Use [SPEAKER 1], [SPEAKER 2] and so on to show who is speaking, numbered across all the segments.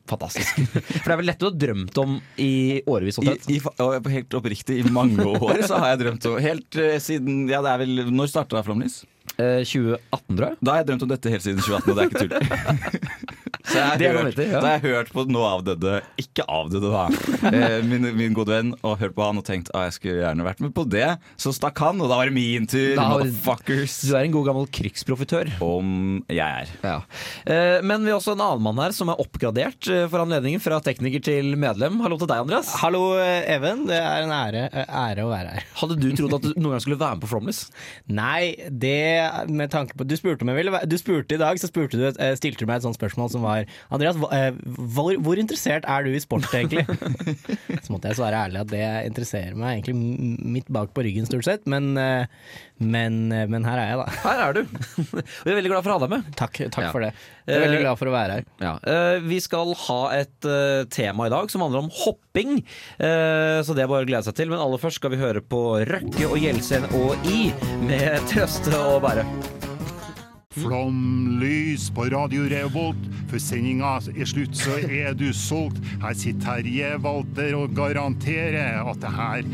[SPEAKER 1] Fantastisk. For det er vel dette du har drømt om i årevis?
[SPEAKER 2] I,
[SPEAKER 1] omtrent?
[SPEAKER 2] i, fa- og helt oppriktig, i mange år så har jeg drømt om Helt eh, siden Ja, det er vel Når starta Flåmlys?
[SPEAKER 1] Eh, 2018, tror jeg.
[SPEAKER 2] Da har jeg drømt om dette helt siden 2018, og det er ikke tull. Så jeg har,
[SPEAKER 1] Det er
[SPEAKER 2] hørt,
[SPEAKER 1] vanvittig, ja.
[SPEAKER 2] da har jeg hørt på nå avdøde Ikke avdøde, da. eh, Min, min gode venn, og hørt på han og tenkt at jeg skulle gjerne vært med på det. Så stakk han, og da var det min tur.
[SPEAKER 1] Da har-
[SPEAKER 2] Motherfuckers.
[SPEAKER 1] Du er en god gammel krigsprofitør.
[SPEAKER 2] Om jeg er.
[SPEAKER 1] Eh, Men vi har også en annen mann her som er oppgradert eh, for anledningen. Fra tekniker til medlem. Hallo til deg, Andreas.
[SPEAKER 3] Hallo, eh, Even. Det er en ære, eh, ære å være her.
[SPEAKER 1] Hadde du trodd at du noen gang skulle være med på Flåmlys?
[SPEAKER 3] Nei, det med tanke på Du spurte meg vel Du spurte i dag, så spurte du, et- eh, stilte du meg et sånt spørsmål som var Andreas, hva- eh, hvor, hvor interessert er du i sport, egentlig? så måtte jeg svare ærlig at det interesserer meg egentlig m- midt bak på ryggen, stort sett. Men, eh, men, eh, men her er jeg, da.
[SPEAKER 1] Her er du. Og jeg er veldig glad for å ha deg med.
[SPEAKER 3] Takk, takk
[SPEAKER 1] Ja.
[SPEAKER 3] for det. Jeg er
[SPEAKER 1] Eh,
[SPEAKER 3] veldig glad for å være her.
[SPEAKER 1] Eh, vi skal ha et eh, tema i dag som handler om hopping. Eh, så det er bare å glede seg til. Men aller først skal vi høre på Røkke og Gjelsen og I med Trøste og Bære.
[SPEAKER 4] Flomlys på Radio Revolt. Før sendinga er slutt, så er du solgt. Her sitter Terje Walter og garanterer at det her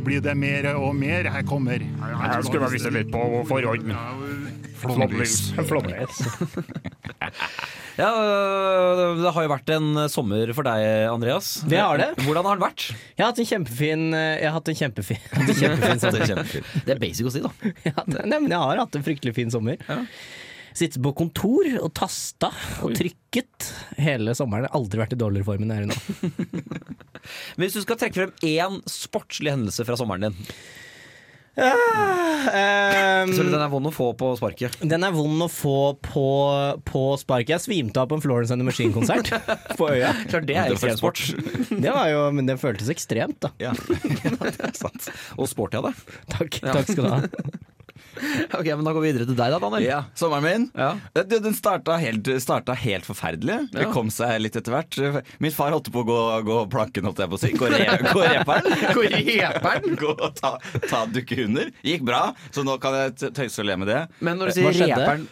[SPEAKER 4] blir det mer og mer. Her kommer Jeg skulle bare vise litt på forhånd, men Flomlys.
[SPEAKER 1] Ja, eh, det har jo vært en sommer for deg, Andreas.
[SPEAKER 3] Det har det.
[SPEAKER 1] Hvordan har den vært?
[SPEAKER 3] Jeg har hatt en kjempefin eh, Jeg har hatt en kjempefin, kjempefin
[SPEAKER 2] Så det er kjempefint.
[SPEAKER 1] Det er basic å si, da.
[SPEAKER 3] Ja, det- nei, men jeg har hatt en fryktelig fin sommer. Sittet på kontor og tasta og trykket hele sommeren. Jeg har Aldri vært i dårligere form enn jeg er i nå.
[SPEAKER 1] Men hvis du skal trekke frem én sportslig hendelse fra sommeren din
[SPEAKER 3] Ah,
[SPEAKER 1] Så den
[SPEAKER 3] ehm,
[SPEAKER 1] er vond å få på sparket.
[SPEAKER 3] den er vond å få på, på sparket. Jeg svimte av på en Florence and the Machine-konsert på Øya.
[SPEAKER 1] Klart det er
[SPEAKER 2] Det er
[SPEAKER 1] ekstremsport.
[SPEAKER 3] Det var jo, men det føltes ekstremt, da.
[SPEAKER 2] Ja.
[SPEAKER 1] Og sporty av deg.
[SPEAKER 3] Takk, takk skal du ha.
[SPEAKER 1] Ok, men da går vi videre til deg, da, Daniel.
[SPEAKER 2] ja. Sommeren min
[SPEAKER 1] Ja.
[SPEAKER 2] Eh, du, Den starta helt, starta helt forferdelig. Det kom seg litt etter hvert. Min far holdt på å gå, gå planken, holdt jeg på å si. Gå, re, gå reperen.
[SPEAKER 1] Går i heperen.
[SPEAKER 2] Gå og ta, ta dukkehunder. Gikk bra, så nå kan jeg t- tøyse og le med det.
[SPEAKER 1] Men når du
[SPEAKER 3] Hva
[SPEAKER 1] sier
[SPEAKER 3] skjedde?
[SPEAKER 1] reperen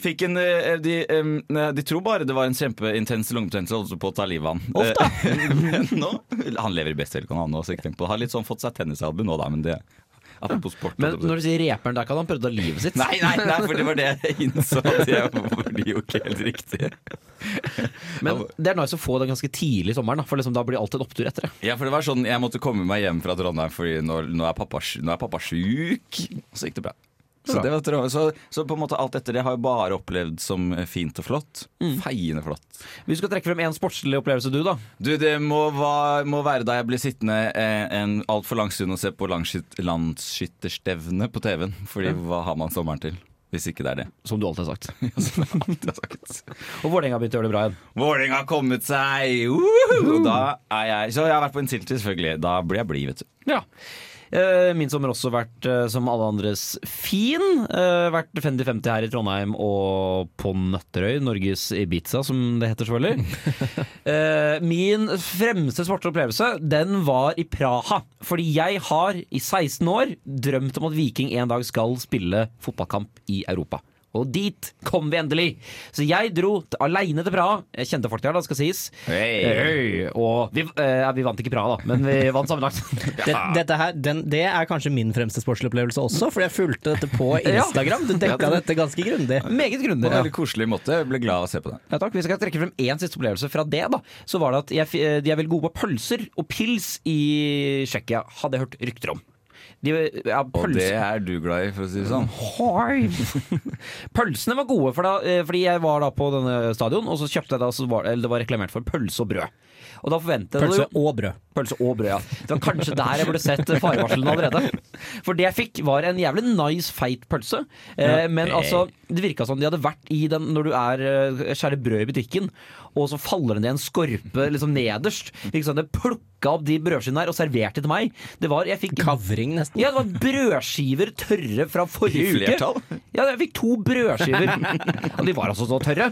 [SPEAKER 2] Fikk en, eh, de, em, nei, de tror bare det var en kjempeintens lungebetennelse og holdt på å ta livet av han. Eh, Men nå, han lever i beste velgående, han nå, så ikke tenk på det. Har litt sånn fått seg tennisalbue nå, da, men det Apropos sport.
[SPEAKER 1] Men
[SPEAKER 2] holdt jeg på å si.
[SPEAKER 1] når du sier reperen der, kan han prøve å ta livet sitt?
[SPEAKER 2] Nei, nei, nei, for det var det jeg innså. at Jeg var jo ikke helt riktig.
[SPEAKER 1] Men det er nice å få den ganske tidlig i sommeren, da, for liksom, da blir alt en opptur etter det.
[SPEAKER 2] Ja, for det var sånn, Jeg måtte komme meg hjem fra Trondheim, Fordi nå, nå, er, pappa, sj- nå er pappa sjuk. Så gikk det bra. Så,
[SPEAKER 1] Bra.
[SPEAKER 2] det var, Trondheim. så, så på en måte alt etter det har jeg bare opplevd som fint og flott. Feiende flott.
[SPEAKER 1] Hvis du skal trekke frem én sportslig opplevelse, du, da.
[SPEAKER 2] Du, Det må, va, må være da jeg ble sittende eh, en altfor lang stund og se på langskyt, landsskytterstevne på TV-en. Fordi hva har man sommeren til? Hvis ikke det er det.
[SPEAKER 1] Som du alltid har sagt.
[SPEAKER 2] Så det er alt jeg har sagt.
[SPEAKER 1] Og Vålerenga har begynt å gjøre det bra igjen.
[SPEAKER 2] Vålerenga har kommet seg! Woohoo! Og da er jeg, så jeg har vært på en tilt, selvfølgelig. Da blir jeg blid, vet du.
[SPEAKER 1] Ja. Eh, Min sommer har også vært eh, som alle andres fin. Eh, Vært 50-50 her i Trondheim og på Nøtterøy, Norges Ibiza som det heter selvfølgelig. Eh, Min fremste svarte opplevelse, den var i Praha. Fordi jeg har i 16 år drømt om at Viking en dag skal spille fotballkamp i Europa. Og dit kom vi endelig! Så jeg dro t- alene til Praha. Jeg kjente folk der, da, skal sies.
[SPEAKER 2] Hey.
[SPEAKER 1] Eh, Hey. Og vi, eh, vi vant ikke Praha, da, men vi vant sammenlagt.
[SPEAKER 3] Det, dette her, den, det er kanskje min fremste sportsopplevelse også, fordi jeg fulgte dette på
[SPEAKER 1] Ja.
[SPEAKER 3] Instagram. Du dekka dette ganske grundig.
[SPEAKER 1] Meget grundig.
[SPEAKER 2] På en veldig koselig måte. Jeg ble glad av å se på det.
[SPEAKER 1] Ja, takk. Hvis jeg kan trekke frem én siste opplevelse fra det, da, så var det at jeg, fi- eh, de er veldig gode på pølser og pils i Tsjekkia, hadde jeg hørt rykter om. De, ja,
[SPEAKER 2] Og det
[SPEAKER 1] pølser.
[SPEAKER 2] er du glad i, for å si det sånn.
[SPEAKER 1] Hoi. Pølsene var gode, for da, eh, fordi jeg var da på denne stadion, og så kjøpte jeg da, så var, eller det var reklamert for pølse og brød. Og da forventet
[SPEAKER 3] Pølse
[SPEAKER 1] jeg
[SPEAKER 3] og brød.
[SPEAKER 1] Pølse og brød, ja. Det var kanskje der jeg burde sett farevarslene allerede. For det jeg fikk, var en jævlig nice, feit pølse. Eh, men altså, det virka som de hadde vært i den når du er eh, skjærer brød i butikken, og så faller den i en skorpe liksom nederst. Liksom, det plukka opp de brødskivene der og serverte til meg. Det var, jeg fikk
[SPEAKER 3] Kavring, nesten.
[SPEAKER 1] ja, det var brødskiver tørre fra forrige
[SPEAKER 2] I flertall?
[SPEAKER 1] uke. Ja, jeg fikk to brødskiver. Og de var altså så tørre.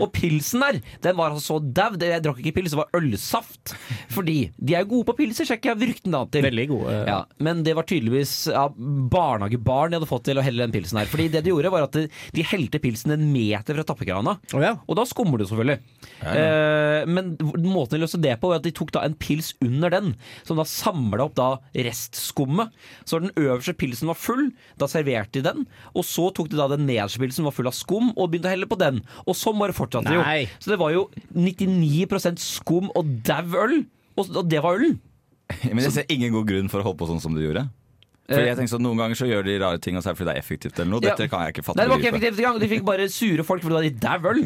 [SPEAKER 1] Og pilsen der, den var altså så dau. Det- Jeg drakk ikke pils, det var ølsaft. Fordi de er gode på pilser, sjekker jeg ryktene an til.
[SPEAKER 3] Veldig gode, eh, ja.
[SPEAKER 1] Ja, men det var tydeligvis ja, barnehagebarn de hadde fått til å helle den pilsen her. Fordi det de gjorde, var at de, de helte pilsen en meter fra tappekrana.
[SPEAKER 3] Å ja.
[SPEAKER 1] Og da skummer du selvfølgelig. Eh, men måten de løste det på, var at de tok da en pils under den, som da samla opp da restskummet. Så den øverste pilsen var full, da serverte de den. Og så tok de da den nederste pilsen som var full av skum, og begynte å helle på den. Og sånn bare fortsatte det jo.
[SPEAKER 3] Nei.
[SPEAKER 1] Så det var jo 99 skum og dau øl. Og, og det var ølen.
[SPEAKER 2] Men jeg ser ingen god grunn for å holde på sånn som du gjorde. Fordi jeg tenker sånn, Noen ganger så gjør de rare ting og så er det fordi det er effektivt eller noe.
[SPEAKER 1] Eh. Ja.
[SPEAKER 2] Dette kan jeg ikke fatte.
[SPEAKER 1] Nei, det var ikke
[SPEAKER 2] og begripe.
[SPEAKER 1] effektivt engang. De fikk bare sure folk fordi de var dau øl.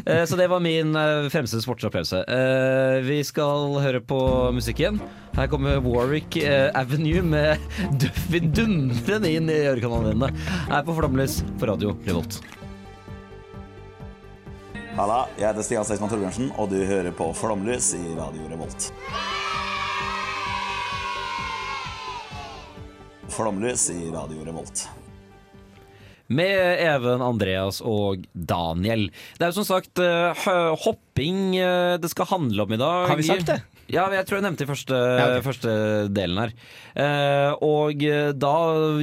[SPEAKER 1] Eh, Så det var min eh, fremste sportsopplevelse. Eh, Vi skal høre på musikken. Her kommer Warwick eh, Avenue med Duffy dundrende inn i ørekanalene dine. Her på Flamlys på radio Revolt.
[SPEAKER 5] Halla, jeg heter Stian Seismann Torbjørnsen, og du hører på Flomlys i Radio Revolt. Flomlys i Radio Revolt.
[SPEAKER 1] Med Even, Andreas og Daniel. Det er jo som sagt eh, hø- hopping eh, det skal handle om i dag.
[SPEAKER 3] Har vi sagt det?
[SPEAKER 1] Ja, men jeg tror jeg nevnte det i første,
[SPEAKER 3] Ja, ok.
[SPEAKER 1] første delen her. Eh, og eh, da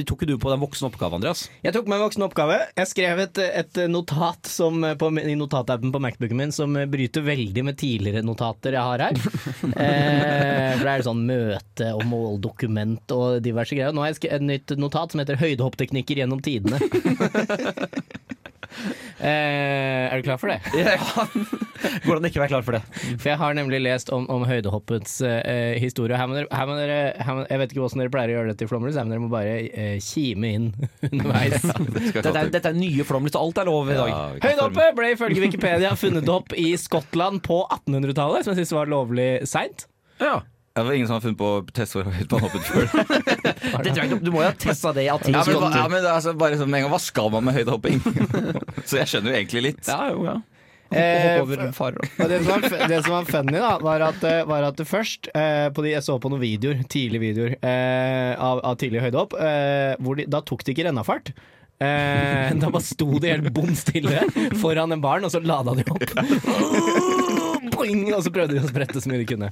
[SPEAKER 1] tok jo du på den voksne oppgaven, Andreas.
[SPEAKER 3] Jeg tok med en voksen oppgave. Jeg skrev et, et notat som, på, i notatappen på Macbooken min som bryter veldig med tidligere notater jeg har her. eh, for det er sånn møte og måldokument og diverse greier. Nå har jeg skrevet et nytt notat som heter 'Høydehoppteknikker gjennom tidene'. eh, er du klar for det?
[SPEAKER 1] Går det an å ikke være klar for det?
[SPEAKER 3] For jeg har nemlig lest om, om høydehoppets eh, historie. Her må dere, her må dere, her må, jeg vet ikke hvordan dere pleier å gjøre dette i Flåmlys, her, men dere må bare eh, kime inn underveis.
[SPEAKER 2] Skal
[SPEAKER 1] Dette
[SPEAKER 2] jeg
[SPEAKER 1] er,
[SPEAKER 2] kalle det-
[SPEAKER 1] dette er nye flomlys, og alt er lov i dag.
[SPEAKER 2] Ja, vi kan forme-
[SPEAKER 3] Høydehoppet ble ifølge Wikipedia funnet opp i Skottland på 1800-tallet, som jeg syns var lovlig seint.
[SPEAKER 1] Ja.
[SPEAKER 2] Ja, Det var ingen som har funnet på å teste hvor høyt man hoppet før.
[SPEAKER 1] Det tror jeg ikke, du må jo ha testa det i
[SPEAKER 2] Ja,
[SPEAKER 1] atelier.
[SPEAKER 2] men, hva- ja, men altså, bare sånn med en gang, Hva skal man med høydehopping? så jeg skjønner jo egentlig litt.
[SPEAKER 1] ja, jo, ja.
[SPEAKER 3] Eh,
[SPEAKER 1] Hoppe over farer.
[SPEAKER 3] Og det som var, f- det som var funny, da, var at, eh, var at det først eh, på de, Jeg så på noen videoer, tidlige videoer eh, av, av tidlig høydehopp. Eh, hvor de, da tok de ikke rennafart. Eh, da bare sto de helt bom stille foran den baren, og så lada de opp. Boing! Og så prøvde de å sprette så mye de kunne.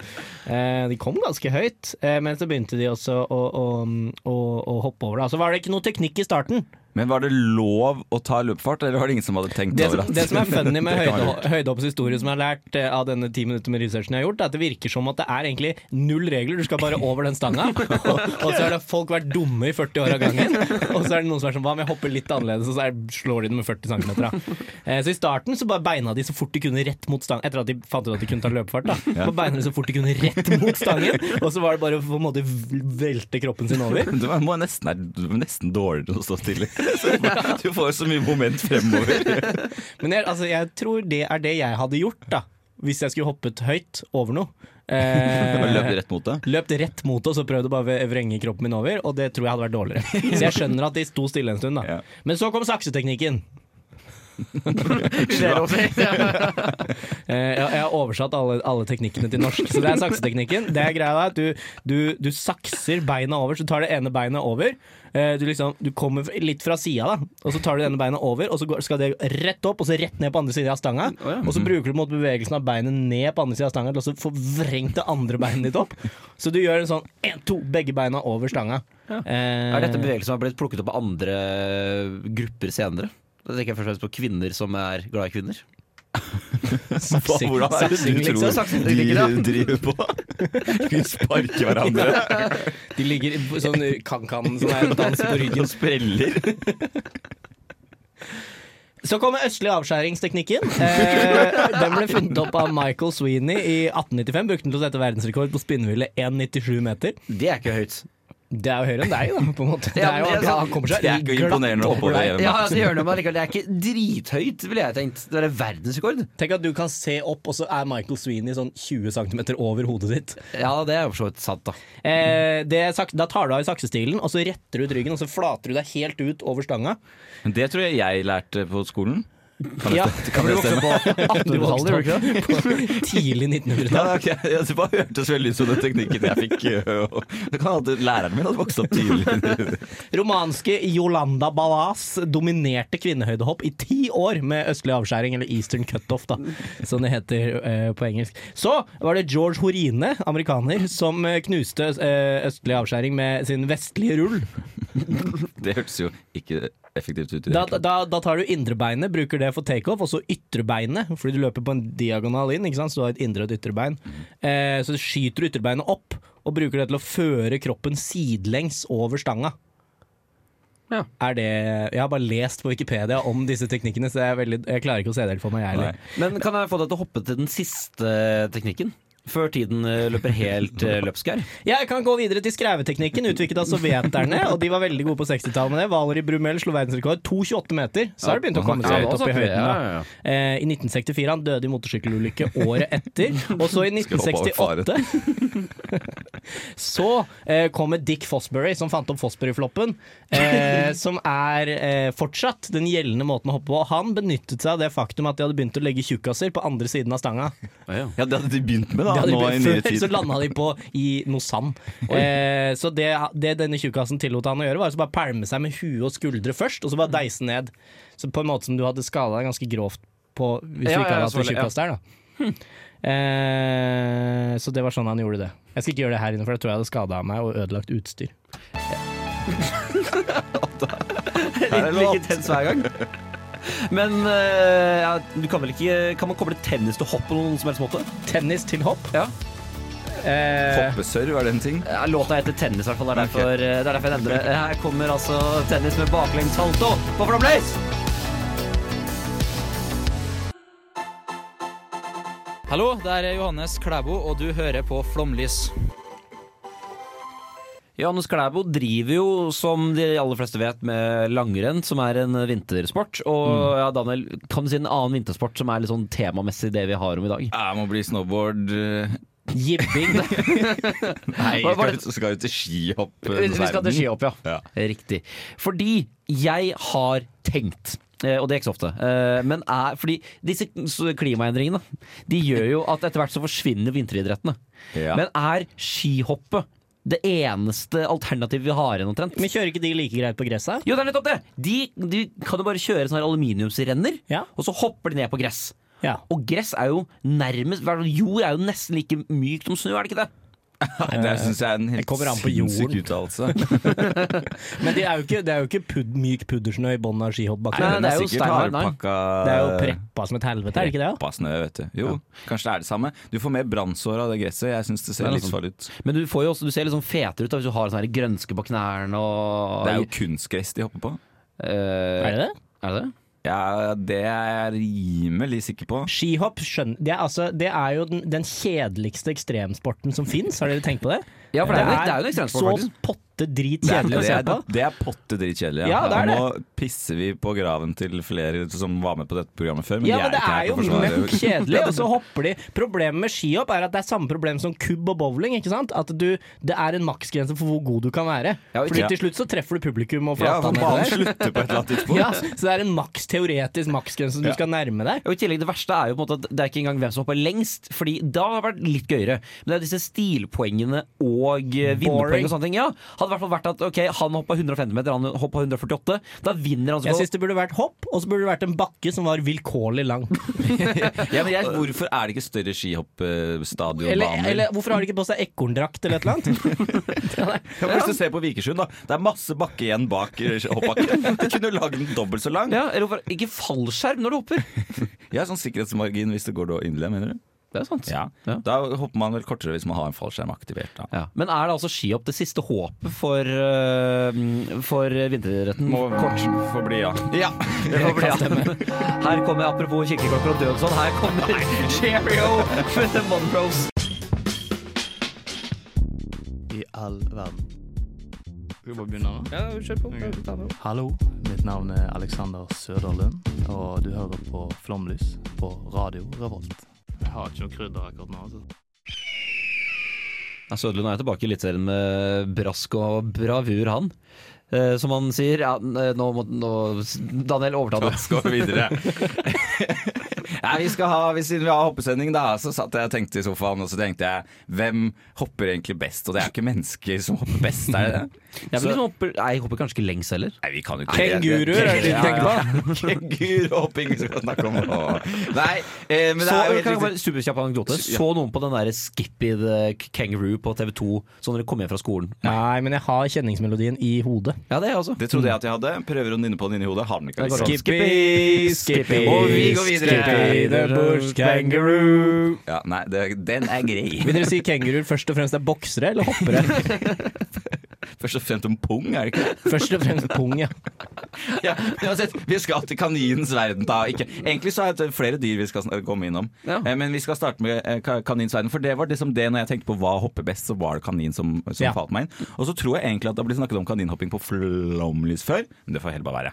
[SPEAKER 3] Eh, de kom ganske høyt, eh, men så begynte de også å, å, å, å hoppe over. Da. Så var det ikke noe teknikk i starten.
[SPEAKER 2] Men var det lov å ta løpefart, eller var det ingen som hadde tenkt
[SPEAKER 3] Det
[SPEAKER 2] over
[SPEAKER 3] som,
[SPEAKER 2] at
[SPEAKER 3] det som er funny med
[SPEAKER 2] Det kan være
[SPEAKER 3] høyde, høydehoppets historie, som jeg har lært eh, av denne ti minutter med researchen jeg har gjort, er at det virker som at det er egentlig null regler. Du skal bare over den stanga. Og, og så har det folk vært dumme i 40 år av gangen. Og så er det noen som er sånn Hva om jeg hopper litt annerledes, og så er, slår de den med 40 cm? Da. Eh, Så i starten så bare beina de så fort de kunne rett mot stangen, etter at de fant ut at de kunne ta løpefart. Da. Bare beina de så fort de kunne rett mot stangen, og så var det bare å på en måte velte kroppen sin over.
[SPEAKER 2] Du må nesten, er, du er nesten dårligere til å stå stille. Så Du får så mye moment fremover.
[SPEAKER 3] Men jeg, altså, jeg tror det er det jeg hadde gjort, da. Hvis jeg skulle hoppet høyt over noe. Eh,
[SPEAKER 2] Og løper rett mot det.
[SPEAKER 3] Løpt rett mot oss og prøvde bare å vrenge kroppen min over, og det tror jeg hadde vært dårligere. Så jeg skjønner at de sto stille en stund, da.
[SPEAKER 2] Ja.
[SPEAKER 3] Men så kom sakseteknikken. Eh, Jeg, jeg har oversatt alle, alle teknikkene til norsk, så det er sakseteknikken. Det er greia er at du, du, du sakser beina over, så du tar det ene beinet over. Eh, Du, liksom, du kommer litt fra sida, da, og så tar du det ene beinet over, og så går, skal det rett opp, og så rett ned på andre sida av stanga. Og så bruker du på en måte bevegelsen av beinet ned på andre sida av stanga til å få vrengt det andre beinet ditt opp. Så du gjør en sånn én, to, begge beina over stanga. Eh,
[SPEAKER 1] Er dette bevegelser som har blitt plukket opp av andre eh, grupper senere? Da tenker jeg først og fremst på kvinner som er glad i kvinner.
[SPEAKER 3] saksing-
[SPEAKER 2] Hvordan er det
[SPEAKER 3] saksing,
[SPEAKER 2] du
[SPEAKER 3] liksom?
[SPEAKER 2] tror de driver på? Vi sparker hverandre
[SPEAKER 3] De ligger i sånn kan-kan som er danser på ryggen.
[SPEAKER 2] og spreller.
[SPEAKER 3] Så kommer østlig avskjæringsteknikken. Eh, den ble funnet opp av Michael Sweeney i 1895. Brukte den til å sette verdensrekord på spinnville 1,97 meter.
[SPEAKER 1] Det er ikke høyt.
[SPEAKER 3] Det er jo høyere enn deg, da. på en måte Det er
[SPEAKER 1] Ja,
[SPEAKER 3] jo
[SPEAKER 1] men det er sant.
[SPEAKER 3] han kommer seg
[SPEAKER 2] Det er ikke
[SPEAKER 3] glatt
[SPEAKER 2] imponerende å
[SPEAKER 3] over
[SPEAKER 2] hoppe over
[SPEAKER 3] deg.
[SPEAKER 2] det.
[SPEAKER 1] Ja, det gjør det, men allikevel, det er ikke drithøyt, ville jeg tenkt. Det er verdensrekord.
[SPEAKER 3] Tenk at du kan se opp, og så er Michael Sweeney sånn 20 cm over hodet ditt.
[SPEAKER 1] Ja, det er jo for så vidt sant, da.
[SPEAKER 3] Eh, det, er sak- da tar du av i saksestilen, og så retter du ut ryggen, og så flater du deg helt ut over stanga.
[SPEAKER 2] Men Det tror jeg jeg lærte på skolen. Kan
[SPEAKER 3] Ja,
[SPEAKER 2] det, kan det stemme?
[SPEAKER 3] Du vokste
[SPEAKER 1] gjorde
[SPEAKER 3] opp på tidlig 1900-tall.
[SPEAKER 2] Ja, ok. Ja, Det bare hørtes veldig ut som den teknikken jeg fikk. øh, og- Det kan hende at læreren min hadde vokst opp tidlig.
[SPEAKER 3] Romanske Yolanda Ballas dominerte kvinnehøydehopp i ti år med østlig avskjæring, eller eastern cutoff, da, som det heter eh, på engelsk. Så var det George Horine, amerikaner, som eh, knuste eh, østlig avskjæring med sin vestlige rull.
[SPEAKER 2] Det hørtes jo ikke effektivt ut. i det
[SPEAKER 3] Da,
[SPEAKER 2] hele tatt.
[SPEAKER 3] da, da tar du indrebeinet, bruker det for takeoff, og så ytrebeinet, fordi du løper på en diagonal inn, ikke sant? så du har et indre og et ytterbein.
[SPEAKER 2] Mhm.
[SPEAKER 3] Eh, så skyter du ytterbeinet opp, og bruker det til å føre kroppen sidelengs over stanga.
[SPEAKER 1] Ja.
[SPEAKER 3] Er det, jeg har bare lest på Wikipedia om disse teknikkene, så jeg, er veldig, jeg klarer ikke å se det helt for meg. Jeg, heller.
[SPEAKER 2] Nei.
[SPEAKER 1] Men kan jeg få deg til å hoppe til den siste teknikken? Før tiden eh, løper helt eh, løpsk her.
[SPEAKER 3] jeg kan gå videre til skreveteknikken, utviklet av sovjeterne. Og de var veldig gode på 60-tallet med det. Valerie Brumell slo verdensrekord 2,28 meter. Så har det begynt å komme seg ut
[SPEAKER 2] altså,
[SPEAKER 3] opp i høyden. Da. Eh, I 1964 han døde i motorsykkelulykke året etter. Og så i
[SPEAKER 2] Skulle hoppe over
[SPEAKER 3] 1968 Så eh, kommer Dick Fosbury, som fant opp Fosbury-floppen. Eh, som er eh, fortsatt den gjeldende måten å hoppe på. Han benyttet seg av det faktum at de hadde begynt å legge tjukkaser på andre siden av stanga.
[SPEAKER 2] Ja, det hadde de begynt med, da.
[SPEAKER 3] Det hadde de
[SPEAKER 2] nå i
[SPEAKER 3] begynt
[SPEAKER 2] nyere
[SPEAKER 3] før,
[SPEAKER 2] tid.
[SPEAKER 3] så landa de på i noe sand. Eh, så det, det denne tjukkasen tillot han å gjøre, var å bare pælme seg med hue og skuldre først, og så
[SPEAKER 1] Mm.
[SPEAKER 3] bare deise ned. Så på en måte som du hadde skala deg ganske grovt på hvis
[SPEAKER 1] Ja,
[SPEAKER 3] du ikke
[SPEAKER 1] ja,
[SPEAKER 3] hadde hatt en
[SPEAKER 1] selvfølgelig, ja. Hm.
[SPEAKER 3] tjukkas der, da. Eh, så det var sånn han gjorde det. Jeg skal ikke gjøre det her inne, for da tror jeg hadde skada meg og ødelagt utstyr.
[SPEAKER 2] Her er det
[SPEAKER 1] Like tens hver gang. Men eh, ja, du kan vel ikke Kan man koble tennis til hopp på noen som helst måte?
[SPEAKER 3] Tennis til hopp.
[SPEAKER 1] Ja.
[SPEAKER 3] Eh,
[SPEAKER 2] Hoppeserv, er det en ting?
[SPEAKER 1] Ja, Låta heter Tennis, i hvert fall. Det er derfor, eh, det er derfor jeg nevner det. Her kommer altså tennis med baklengs salto på Flomlys!
[SPEAKER 6] Hallo, det er Johannes Klæbo, og du hører på Flomlys.
[SPEAKER 1] Johannes Klæbo driver jo, som de aller fleste vet, med langrenn, som er en vintersport. Og
[SPEAKER 6] Mm.
[SPEAKER 1] ja, Daniel, kan du si en annen vintersport som er litt sånn temamessig det vi har om i dag?
[SPEAKER 2] Jeg må bli snowboard eh,
[SPEAKER 3] jibbing.
[SPEAKER 2] Nei,
[SPEAKER 1] Hva- hva
[SPEAKER 2] skal,
[SPEAKER 1] er
[SPEAKER 2] ut- skal ut til skihopp. eh,
[SPEAKER 1] Vi vi skal til
[SPEAKER 2] verden.
[SPEAKER 1] skihopp, ja.
[SPEAKER 2] Ja.
[SPEAKER 1] Riktig. Fordi jeg har tenkt eh, og det er ikke så ofte. eh, Men er, fordi disse s- klimaendringene De gjør jo at etter hvert så forsvinner vinteridrettene.
[SPEAKER 2] Ja.
[SPEAKER 1] Men er skihoppet det eneste alternativet vi har igjen, omtrent?
[SPEAKER 3] Men kjører ikke de like greit på gresset?
[SPEAKER 1] Jo, det er nettopp det! De, de kan jo bare kjøre sånne her aluminiumsrenner,
[SPEAKER 3] Ja.
[SPEAKER 1] og så hopper de ned på gress.
[SPEAKER 3] Ja.
[SPEAKER 1] Og gress er jo nærmest hver- Jord er jo nesten like mykt som snø, er det ikke det?
[SPEAKER 2] Nei, Det syns jeg er en
[SPEAKER 3] Det
[SPEAKER 2] helt
[SPEAKER 3] kommer an på
[SPEAKER 2] sinnssyk
[SPEAKER 3] jorden.
[SPEAKER 2] uttalelse.
[SPEAKER 3] Men det er jo ikke, det er jo ikke pud, myk puddersnø i bunnen av skihoppbakken.
[SPEAKER 1] Nei,
[SPEAKER 2] Den
[SPEAKER 1] det er jo
[SPEAKER 2] sikkert
[SPEAKER 1] steinhard, nei.
[SPEAKER 2] hardpakka
[SPEAKER 3] Det er jo preppa som et helvete, er det ikke det? da?
[SPEAKER 2] Preppa snø, vet du. Jo, kanskje det er det samme. Du får mer brannsår av det gresset. Jeg syns det
[SPEAKER 1] Det
[SPEAKER 2] ser
[SPEAKER 1] er
[SPEAKER 2] litt
[SPEAKER 3] sånn-
[SPEAKER 1] sant.
[SPEAKER 2] farlig ut.
[SPEAKER 1] Men du, får jo også, du ser litt sånn fetere ut da, hvis du har sånn her grønske på knærne og
[SPEAKER 2] Det er jo kunstgress de hopper på.
[SPEAKER 1] Eh,
[SPEAKER 3] Er det det?
[SPEAKER 1] Er det det?
[SPEAKER 2] Ja, det er jeg rimelig sikker på.
[SPEAKER 3] Skihopp skjønner, det, er altså, det er jo den, den kjedeligste ekstremsporten som fins, har dere tenkt på det?
[SPEAKER 1] Ja, for det er jo- det er jo en ekstremsport,
[SPEAKER 3] så
[SPEAKER 1] faktisk.
[SPEAKER 3] potte potte dritkjedelig å se på.
[SPEAKER 2] Det er potte dritkjedelig.
[SPEAKER 3] Ja, det er
[SPEAKER 2] Nå pisser vi på graven til flere som var med på dette programmet før.
[SPEAKER 3] Ja,
[SPEAKER 2] jeg
[SPEAKER 3] men det
[SPEAKER 2] ikke her
[SPEAKER 3] er jo
[SPEAKER 2] til å forsvare-
[SPEAKER 3] møkk kjedelig, og så hopper de. Problemet med skihopp er at det er samme problem som kubb og bowling. ikke sant? At du, Det er en maksgrense for hvor god du kan være.
[SPEAKER 2] Ja, ikke-
[SPEAKER 3] Fordi til slutt så treffer du publikum og
[SPEAKER 2] Ja,
[SPEAKER 3] flata
[SPEAKER 2] for
[SPEAKER 3] ned
[SPEAKER 2] banen
[SPEAKER 3] der.
[SPEAKER 2] slutter på et eller annet tidspunkt.
[SPEAKER 3] Ja, så det er en maks teoretisk maksgrense som du skal nærme deg.
[SPEAKER 1] Og i tillegg Det verste er jo på en måte at det er ikke engang hvem som hopper lengst, Fordi da hadde det vært litt gøyere. Men det er disse stilpoengene og eh, vinnerpoeng og sånne ting. Ja, Hadde i hvert fall vært at ok, han hoppa 150 meter, han hoppa 148. Da vinner han. så
[SPEAKER 3] Jeg
[SPEAKER 1] godt.
[SPEAKER 3] syns det burde vært hopp, og så burde det vært en bakke som var vilkårlig lang.
[SPEAKER 2] Ja, men jeg, hvorfor er det ikke større skihoppstadionbaner?
[SPEAKER 3] Eller, eller hvorfor har de ikke på seg ekorndrakt eller et eller annet?
[SPEAKER 2] Ja, men Hvis du ser på Vikersund, da. Det er masse bakke igjen bak eh, hoppbakken. Du kunne jo lagd den dobbelt så lang.
[SPEAKER 1] Ja, eller hvorfor ikke fallskjerm når du hopper?
[SPEAKER 2] Jeg har sånn sikkerhetsmargin hvis det går da inderlig, mener du?
[SPEAKER 1] Det er sant.
[SPEAKER 2] Ja.
[SPEAKER 1] Ja.
[SPEAKER 2] Da hopper man vel kortere hvis man har en fallskjerm aktivert. Da.
[SPEAKER 1] Ja. Men er det altså skihopp det siste håpet for, eh, for vinteridretten?
[SPEAKER 2] Må kort få bli, ja.
[SPEAKER 1] Det får bli, ja. Her kommer apropos kirkeklokker og dødsånd, her kommer Cheerio med The Monroes.
[SPEAKER 7] i all verden. Skal vi bare begynne? Ja, kjør på. Hallo, mitt navn er Alexander Søderlund, og du hører på Flomlys på Radio Revolt. Jeg har ikke noe krydder akkurat nå, altså.
[SPEAKER 1] Ja, Sødlund er jo tilbake i Eliteserien med brask og bravur, han. Eh, som han sier ja, n- eh, nå, må, nå Daniel, overta det.
[SPEAKER 2] Skal vi videre? Nei, vi skal ha, vi- Siden vi har hoppesending, da, så satt jeg og tenkte i sofaen og så tenkte jeg, hvem hopper egentlig best? Og det er jo ikke mennesker som hopper best, er det det?
[SPEAKER 1] Jeg, liksom hopper, nei, jeg hopper kanskje ikke lengst heller.
[SPEAKER 2] Nei, vi kan jo ikke
[SPEAKER 3] Kenguruer er det du tenker på?
[SPEAKER 2] Kenguruhopping vi skal snakke om nå. Nei, eh, men det
[SPEAKER 1] Så,
[SPEAKER 2] er jo
[SPEAKER 1] kan jeg
[SPEAKER 2] helt
[SPEAKER 1] bare,
[SPEAKER 2] riktig.
[SPEAKER 1] superkjapp anekdote.
[SPEAKER 2] Ja.
[SPEAKER 1] Så noen på den der Skippy the Kangaroo på TV2 sånn når de kom hjem fra skolen?
[SPEAKER 3] Nei, men jeg har kjenningsmelodien i hodet.
[SPEAKER 1] Ja, det er jeg også.
[SPEAKER 2] Det trodde jeg at jeg hadde. Prøver å nynne på den inni hodet. Har den ikke.
[SPEAKER 1] Det går
[SPEAKER 2] liksom.
[SPEAKER 1] an.
[SPEAKER 3] Skippy, skippy,
[SPEAKER 2] Og vi går videre.
[SPEAKER 3] Skippy the bush kangaroo.
[SPEAKER 2] Ja, nei, det, den er grei.
[SPEAKER 3] Vil dere si kenguruer først og fremst er boksere eller hoppere?
[SPEAKER 2] Først og fremst om pung, er det ikke?
[SPEAKER 3] Først og fremst pung, ja.
[SPEAKER 2] Ja, uansett, vi skal til kaninens verden, da. Ikke. Egentlig så er det flere dyr vi skal sn- komme innom.
[SPEAKER 1] Ja.
[SPEAKER 2] Eh, Men vi skal starte med eh, ka- kaninens verden. For det var liksom det når jeg tenkte på hva hopper best, så var det kanin som, som
[SPEAKER 3] Ja.
[SPEAKER 2] falt meg inn. Og så tror jeg egentlig at det har blitt snakket om kaninhopping på flomlys før, men det får heller bare være.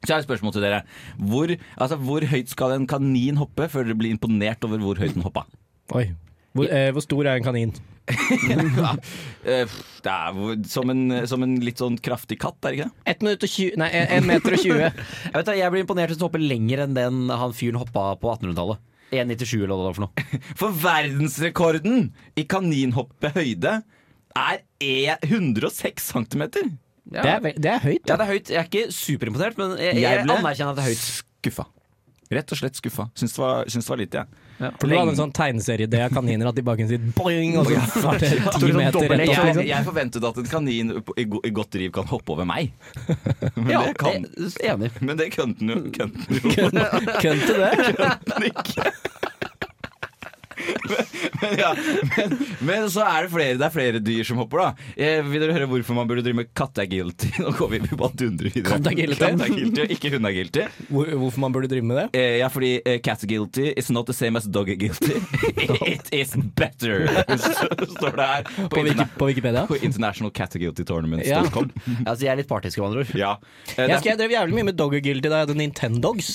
[SPEAKER 2] Så jeg har et spørsmål til dere. Hvor, altså, hvor høyt skal en kanin hoppe før dere blir imponert over hvor høyt den hoppa?
[SPEAKER 3] Oi. Hvor, eh, hvor stor er en kanin?
[SPEAKER 2] Eh, pff, Det er hvor- som en, som en litt sånn kraftig katt, er det ikke det?
[SPEAKER 3] 1 minutt og 20 Nei, 1 meter og 20.
[SPEAKER 1] Jeg, vet, da, jeg blir imponert hvis du hopper lenger enn den han fyren hoppa på 1800-tallet. 1,97 eller hva det var for noe.
[SPEAKER 2] For verdensrekorden i kaninhoppe høyde er e- 106 cm.
[SPEAKER 1] Ja.
[SPEAKER 3] Det er, ve- det er høyt.
[SPEAKER 1] Ja, det er høyt. Jeg er ikke superimponert, men jeg, jeg,
[SPEAKER 2] Jeg ble-
[SPEAKER 1] anerkjenner at det er høyt.
[SPEAKER 2] Skuffa. Rett og slett skuffa. Syns det var, syns det var lite, jeg.
[SPEAKER 3] For du hadde en sånn tegneserieidé av kaniner at de bare kunne si boing, og så var det
[SPEAKER 1] det er
[SPEAKER 3] ti
[SPEAKER 1] sånn
[SPEAKER 3] meter
[SPEAKER 1] dobbelt-
[SPEAKER 3] rett opp.
[SPEAKER 2] Jeg,
[SPEAKER 3] Liksom.
[SPEAKER 2] jeg forventet at en kanin på- i, go- i godt driv kan hoppe over meg. Men
[SPEAKER 1] Ja,
[SPEAKER 2] det kan
[SPEAKER 1] jeg er Enig.
[SPEAKER 2] men det kunne den jo, kunne den jo
[SPEAKER 3] Kønt til det.
[SPEAKER 2] ikke. Men, ja, men, men så er det flere Det er flere dyr som hopper, da. Eh, vil dere høre hvorfor man burde drive med katteagility? Nå går vi vi bare dundrer videre.
[SPEAKER 3] Katteagility?
[SPEAKER 2] Katteagility, og ikke hundeagility.
[SPEAKER 3] Hvor, hvorfor man burde drive med det?
[SPEAKER 2] Eh, ja, fordi eh, cat guilty is not the same as dog guilty. It is better, Så står det her. På,
[SPEAKER 3] På, Wiki,
[SPEAKER 2] interna-
[SPEAKER 3] på Wikipedia?
[SPEAKER 2] på International Catagilty
[SPEAKER 3] Ja.
[SPEAKER 2] Tournaments.com.
[SPEAKER 1] Altså, jeg er litt partisk, med andre ord.
[SPEAKER 2] Ja. Eh,
[SPEAKER 3] Jeg,
[SPEAKER 2] det-
[SPEAKER 3] husker jeg drev jævlig mye med Dogger Guilty da jeg hadde Nintendogs.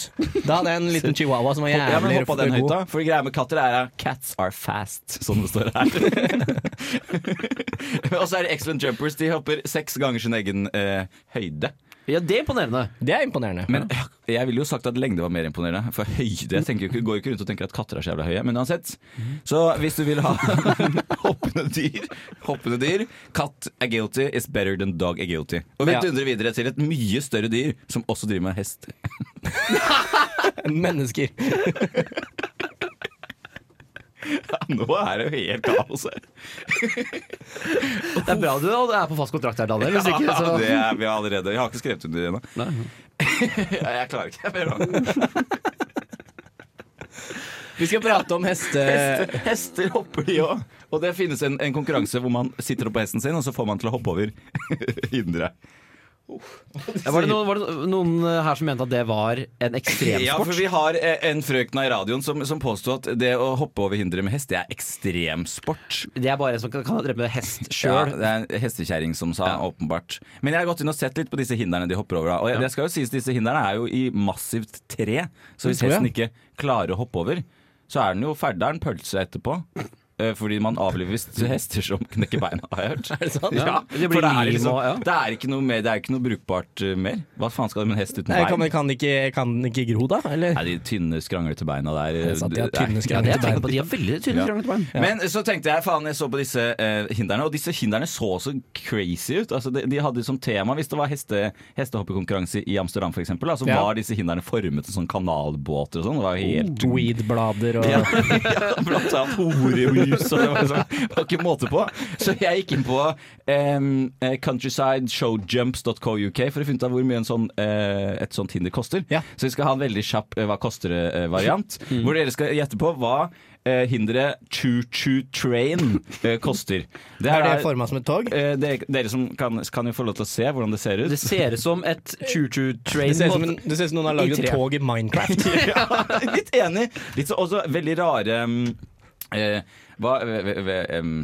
[SPEAKER 3] Da hadde jeg en liten chihuahua som var
[SPEAKER 2] Ja, men
[SPEAKER 3] jævlig
[SPEAKER 2] hoppa den høyt, da. For greia med katter er at cats are fast, som det står her. og så er det excellent jumpers. De hopper seks ganger sin egen eh, høyde.
[SPEAKER 1] Ja, det er imponerende.
[SPEAKER 3] Det er imponerende.
[SPEAKER 2] Men ja, jeg ville jo sagt at lengde var mer imponerende. For høyde jeg tenker, jo ikke- går jo ikke rundt og tenker at katter er så jævla høye. Men uansett. Så hvis du vil ha hoppende dyr, hoppende dyr Katt er guilty is better than dog er guilty. Og vi
[SPEAKER 3] Ja.
[SPEAKER 2] dundrer videre til et mye større dyr som også driver med hest.
[SPEAKER 3] Mennesker.
[SPEAKER 2] Nå er det jo helt kaos her.
[SPEAKER 1] Det er bra du er på fast kontrakt her, Daniel. Hvis ikke,
[SPEAKER 3] altså.
[SPEAKER 1] så
[SPEAKER 2] det er vi allerede. Jeg har ikke skrevet under ennå. Ja, jeg klarer ikke. Jeg ber om.
[SPEAKER 3] Vi skal prate om heste...
[SPEAKER 2] Hester, hester hopper de òg. Og det finnes en, en konkurranse hvor man sitter opp på hesten sin, og så får man til å hoppe over hindre.
[SPEAKER 1] Var det, noen, var det noen eh, her som mente at det var en ekstremsport?
[SPEAKER 2] Ja, for vi har eh, en frøken her i radioen som, som påstod at det å hoppe over hindre med hest, det er ekstremsport.
[SPEAKER 1] Det er bare en som kan, kan drepe
[SPEAKER 2] Ja,
[SPEAKER 1] hest sjøl.
[SPEAKER 2] det er en hestekjerring som sa, åpenbart. Men jeg har gått inn og sett litt på disse hindrene de hopper over. da. Og jeg- det skal jo sies, disse hindrene er jo i massivt tre, så hvis
[SPEAKER 3] tror jeg.
[SPEAKER 2] hesten ikke klarer å hoppe over, så er den jo ferdig. Da er den pølse etterpå. Eh, Fordi man avliver visst hester som knekker beina, har jeg hørt. Er det sant? Ja,
[SPEAKER 1] Det blir
[SPEAKER 2] for det er,
[SPEAKER 1] lim
[SPEAKER 2] liksom,
[SPEAKER 1] og- ja.
[SPEAKER 2] det er ikke noe mer, det er ikke noe brukbart eh, mer. Hva faen skal du med en hest uten
[SPEAKER 3] Nei, Kan,
[SPEAKER 2] bein?
[SPEAKER 3] kan, den ikke, kan den ikke gro, da? Eller?
[SPEAKER 2] Nei, de tynne, skranglete beina der
[SPEAKER 3] er sant, de
[SPEAKER 2] eh,
[SPEAKER 3] har
[SPEAKER 2] det- Ja,
[SPEAKER 3] tynne,
[SPEAKER 1] Det
[SPEAKER 2] det
[SPEAKER 1] jeg
[SPEAKER 2] er-
[SPEAKER 1] tenker på, De har veldig tynne
[SPEAKER 2] Ja.
[SPEAKER 1] skranglete bein.
[SPEAKER 2] Men så tenkte jeg, faen, jeg så på disse eh, hinderne, og disse hinderne så så crazy ut. Altså, de, de hadde som tema, hvis det var heste, hestehoppekonkurranse i Amsterdam f.eks., så altså,
[SPEAKER 3] Ja. Oh.
[SPEAKER 2] var disse hinderne formet som sånn kanalbåter og sånn. Det var jo helt
[SPEAKER 3] Weedblader og
[SPEAKER 2] ja, ja, blant annet horejus og det var, liksom, det var ikke måte på. Så jeg gikk inn på em, eh, countrysideshowjumps.co.uk for å finne ut av hvor mye en sånn, eh, et sånt hinder koster.
[SPEAKER 3] Ja.
[SPEAKER 2] Så vi skal ha en veldig kjapp eh, hva koster det-variant, hvor dere skal gjette på hva eh, hinderet choo-choo train eh, koster. Det her
[SPEAKER 3] Er det forma som et tog?
[SPEAKER 2] eh, dere, dere som kan, kan jo få lov til å se hvordan det ser ut.
[SPEAKER 1] Det ser ut som et choo-choo-train.
[SPEAKER 3] Det ser ut som, en- det ser ut som noen har lagd
[SPEAKER 1] I
[SPEAKER 3] et
[SPEAKER 1] tre.
[SPEAKER 3] tog i Minecraft.
[SPEAKER 2] ja, litt enig. Litt så, også veldig rare em, eh, hva, ve- ve- ve- em,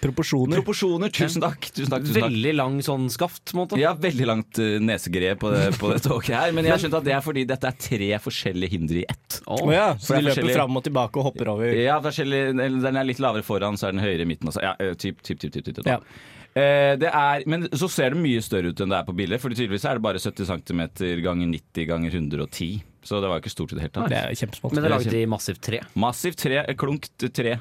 [SPEAKER 3] Proporsjoner.
[SPEAKER 2] Proporsjoner. Tusen takk. Tusen takk, tusen takk.
[SPEAKER 1] Veldig lang sånn skaft. på en måte.
[SPEAKER 2] Ja, veldig langt eh, nesegreie på det, på det toget her. Men jeg har skjønt at det er fordi dette er tre forskjellige hindre i ett.
[SPEAKER 3] Å ja,
[SPEAKER 2] For
[SPEAKER 3] så
[SPEAKER 2] det
[SPEAKER 3] de
[SPEAKER 2] er
[SPEAKER 3] løper
[SPEAKER 2] forskjellig-
[SPEAKER 3] fram og tilbake og hopper over.
[SPEAKER 2] Ja, forskjellig, eller den er litt lavere foran, så er den høyere i midten. Også. Ja, eh, typ, typ, typ, typ, typ, da.
[SPEAKER 3] Ja.
[SPEAKER 2] Eh, det er, men så ser det mye større ut enn det er på bildet, for tydeligvis er det bare 70 cm ganger 90 ganger 110. Så det var jo ikke stort i det hele tatt.
[SPEAKER 3] Det er kjempesmått.
[SPEAKER 1] Men det er laget i massivt tre.
[SPEAKER 2] Massivt tre, eh, klunkt tre.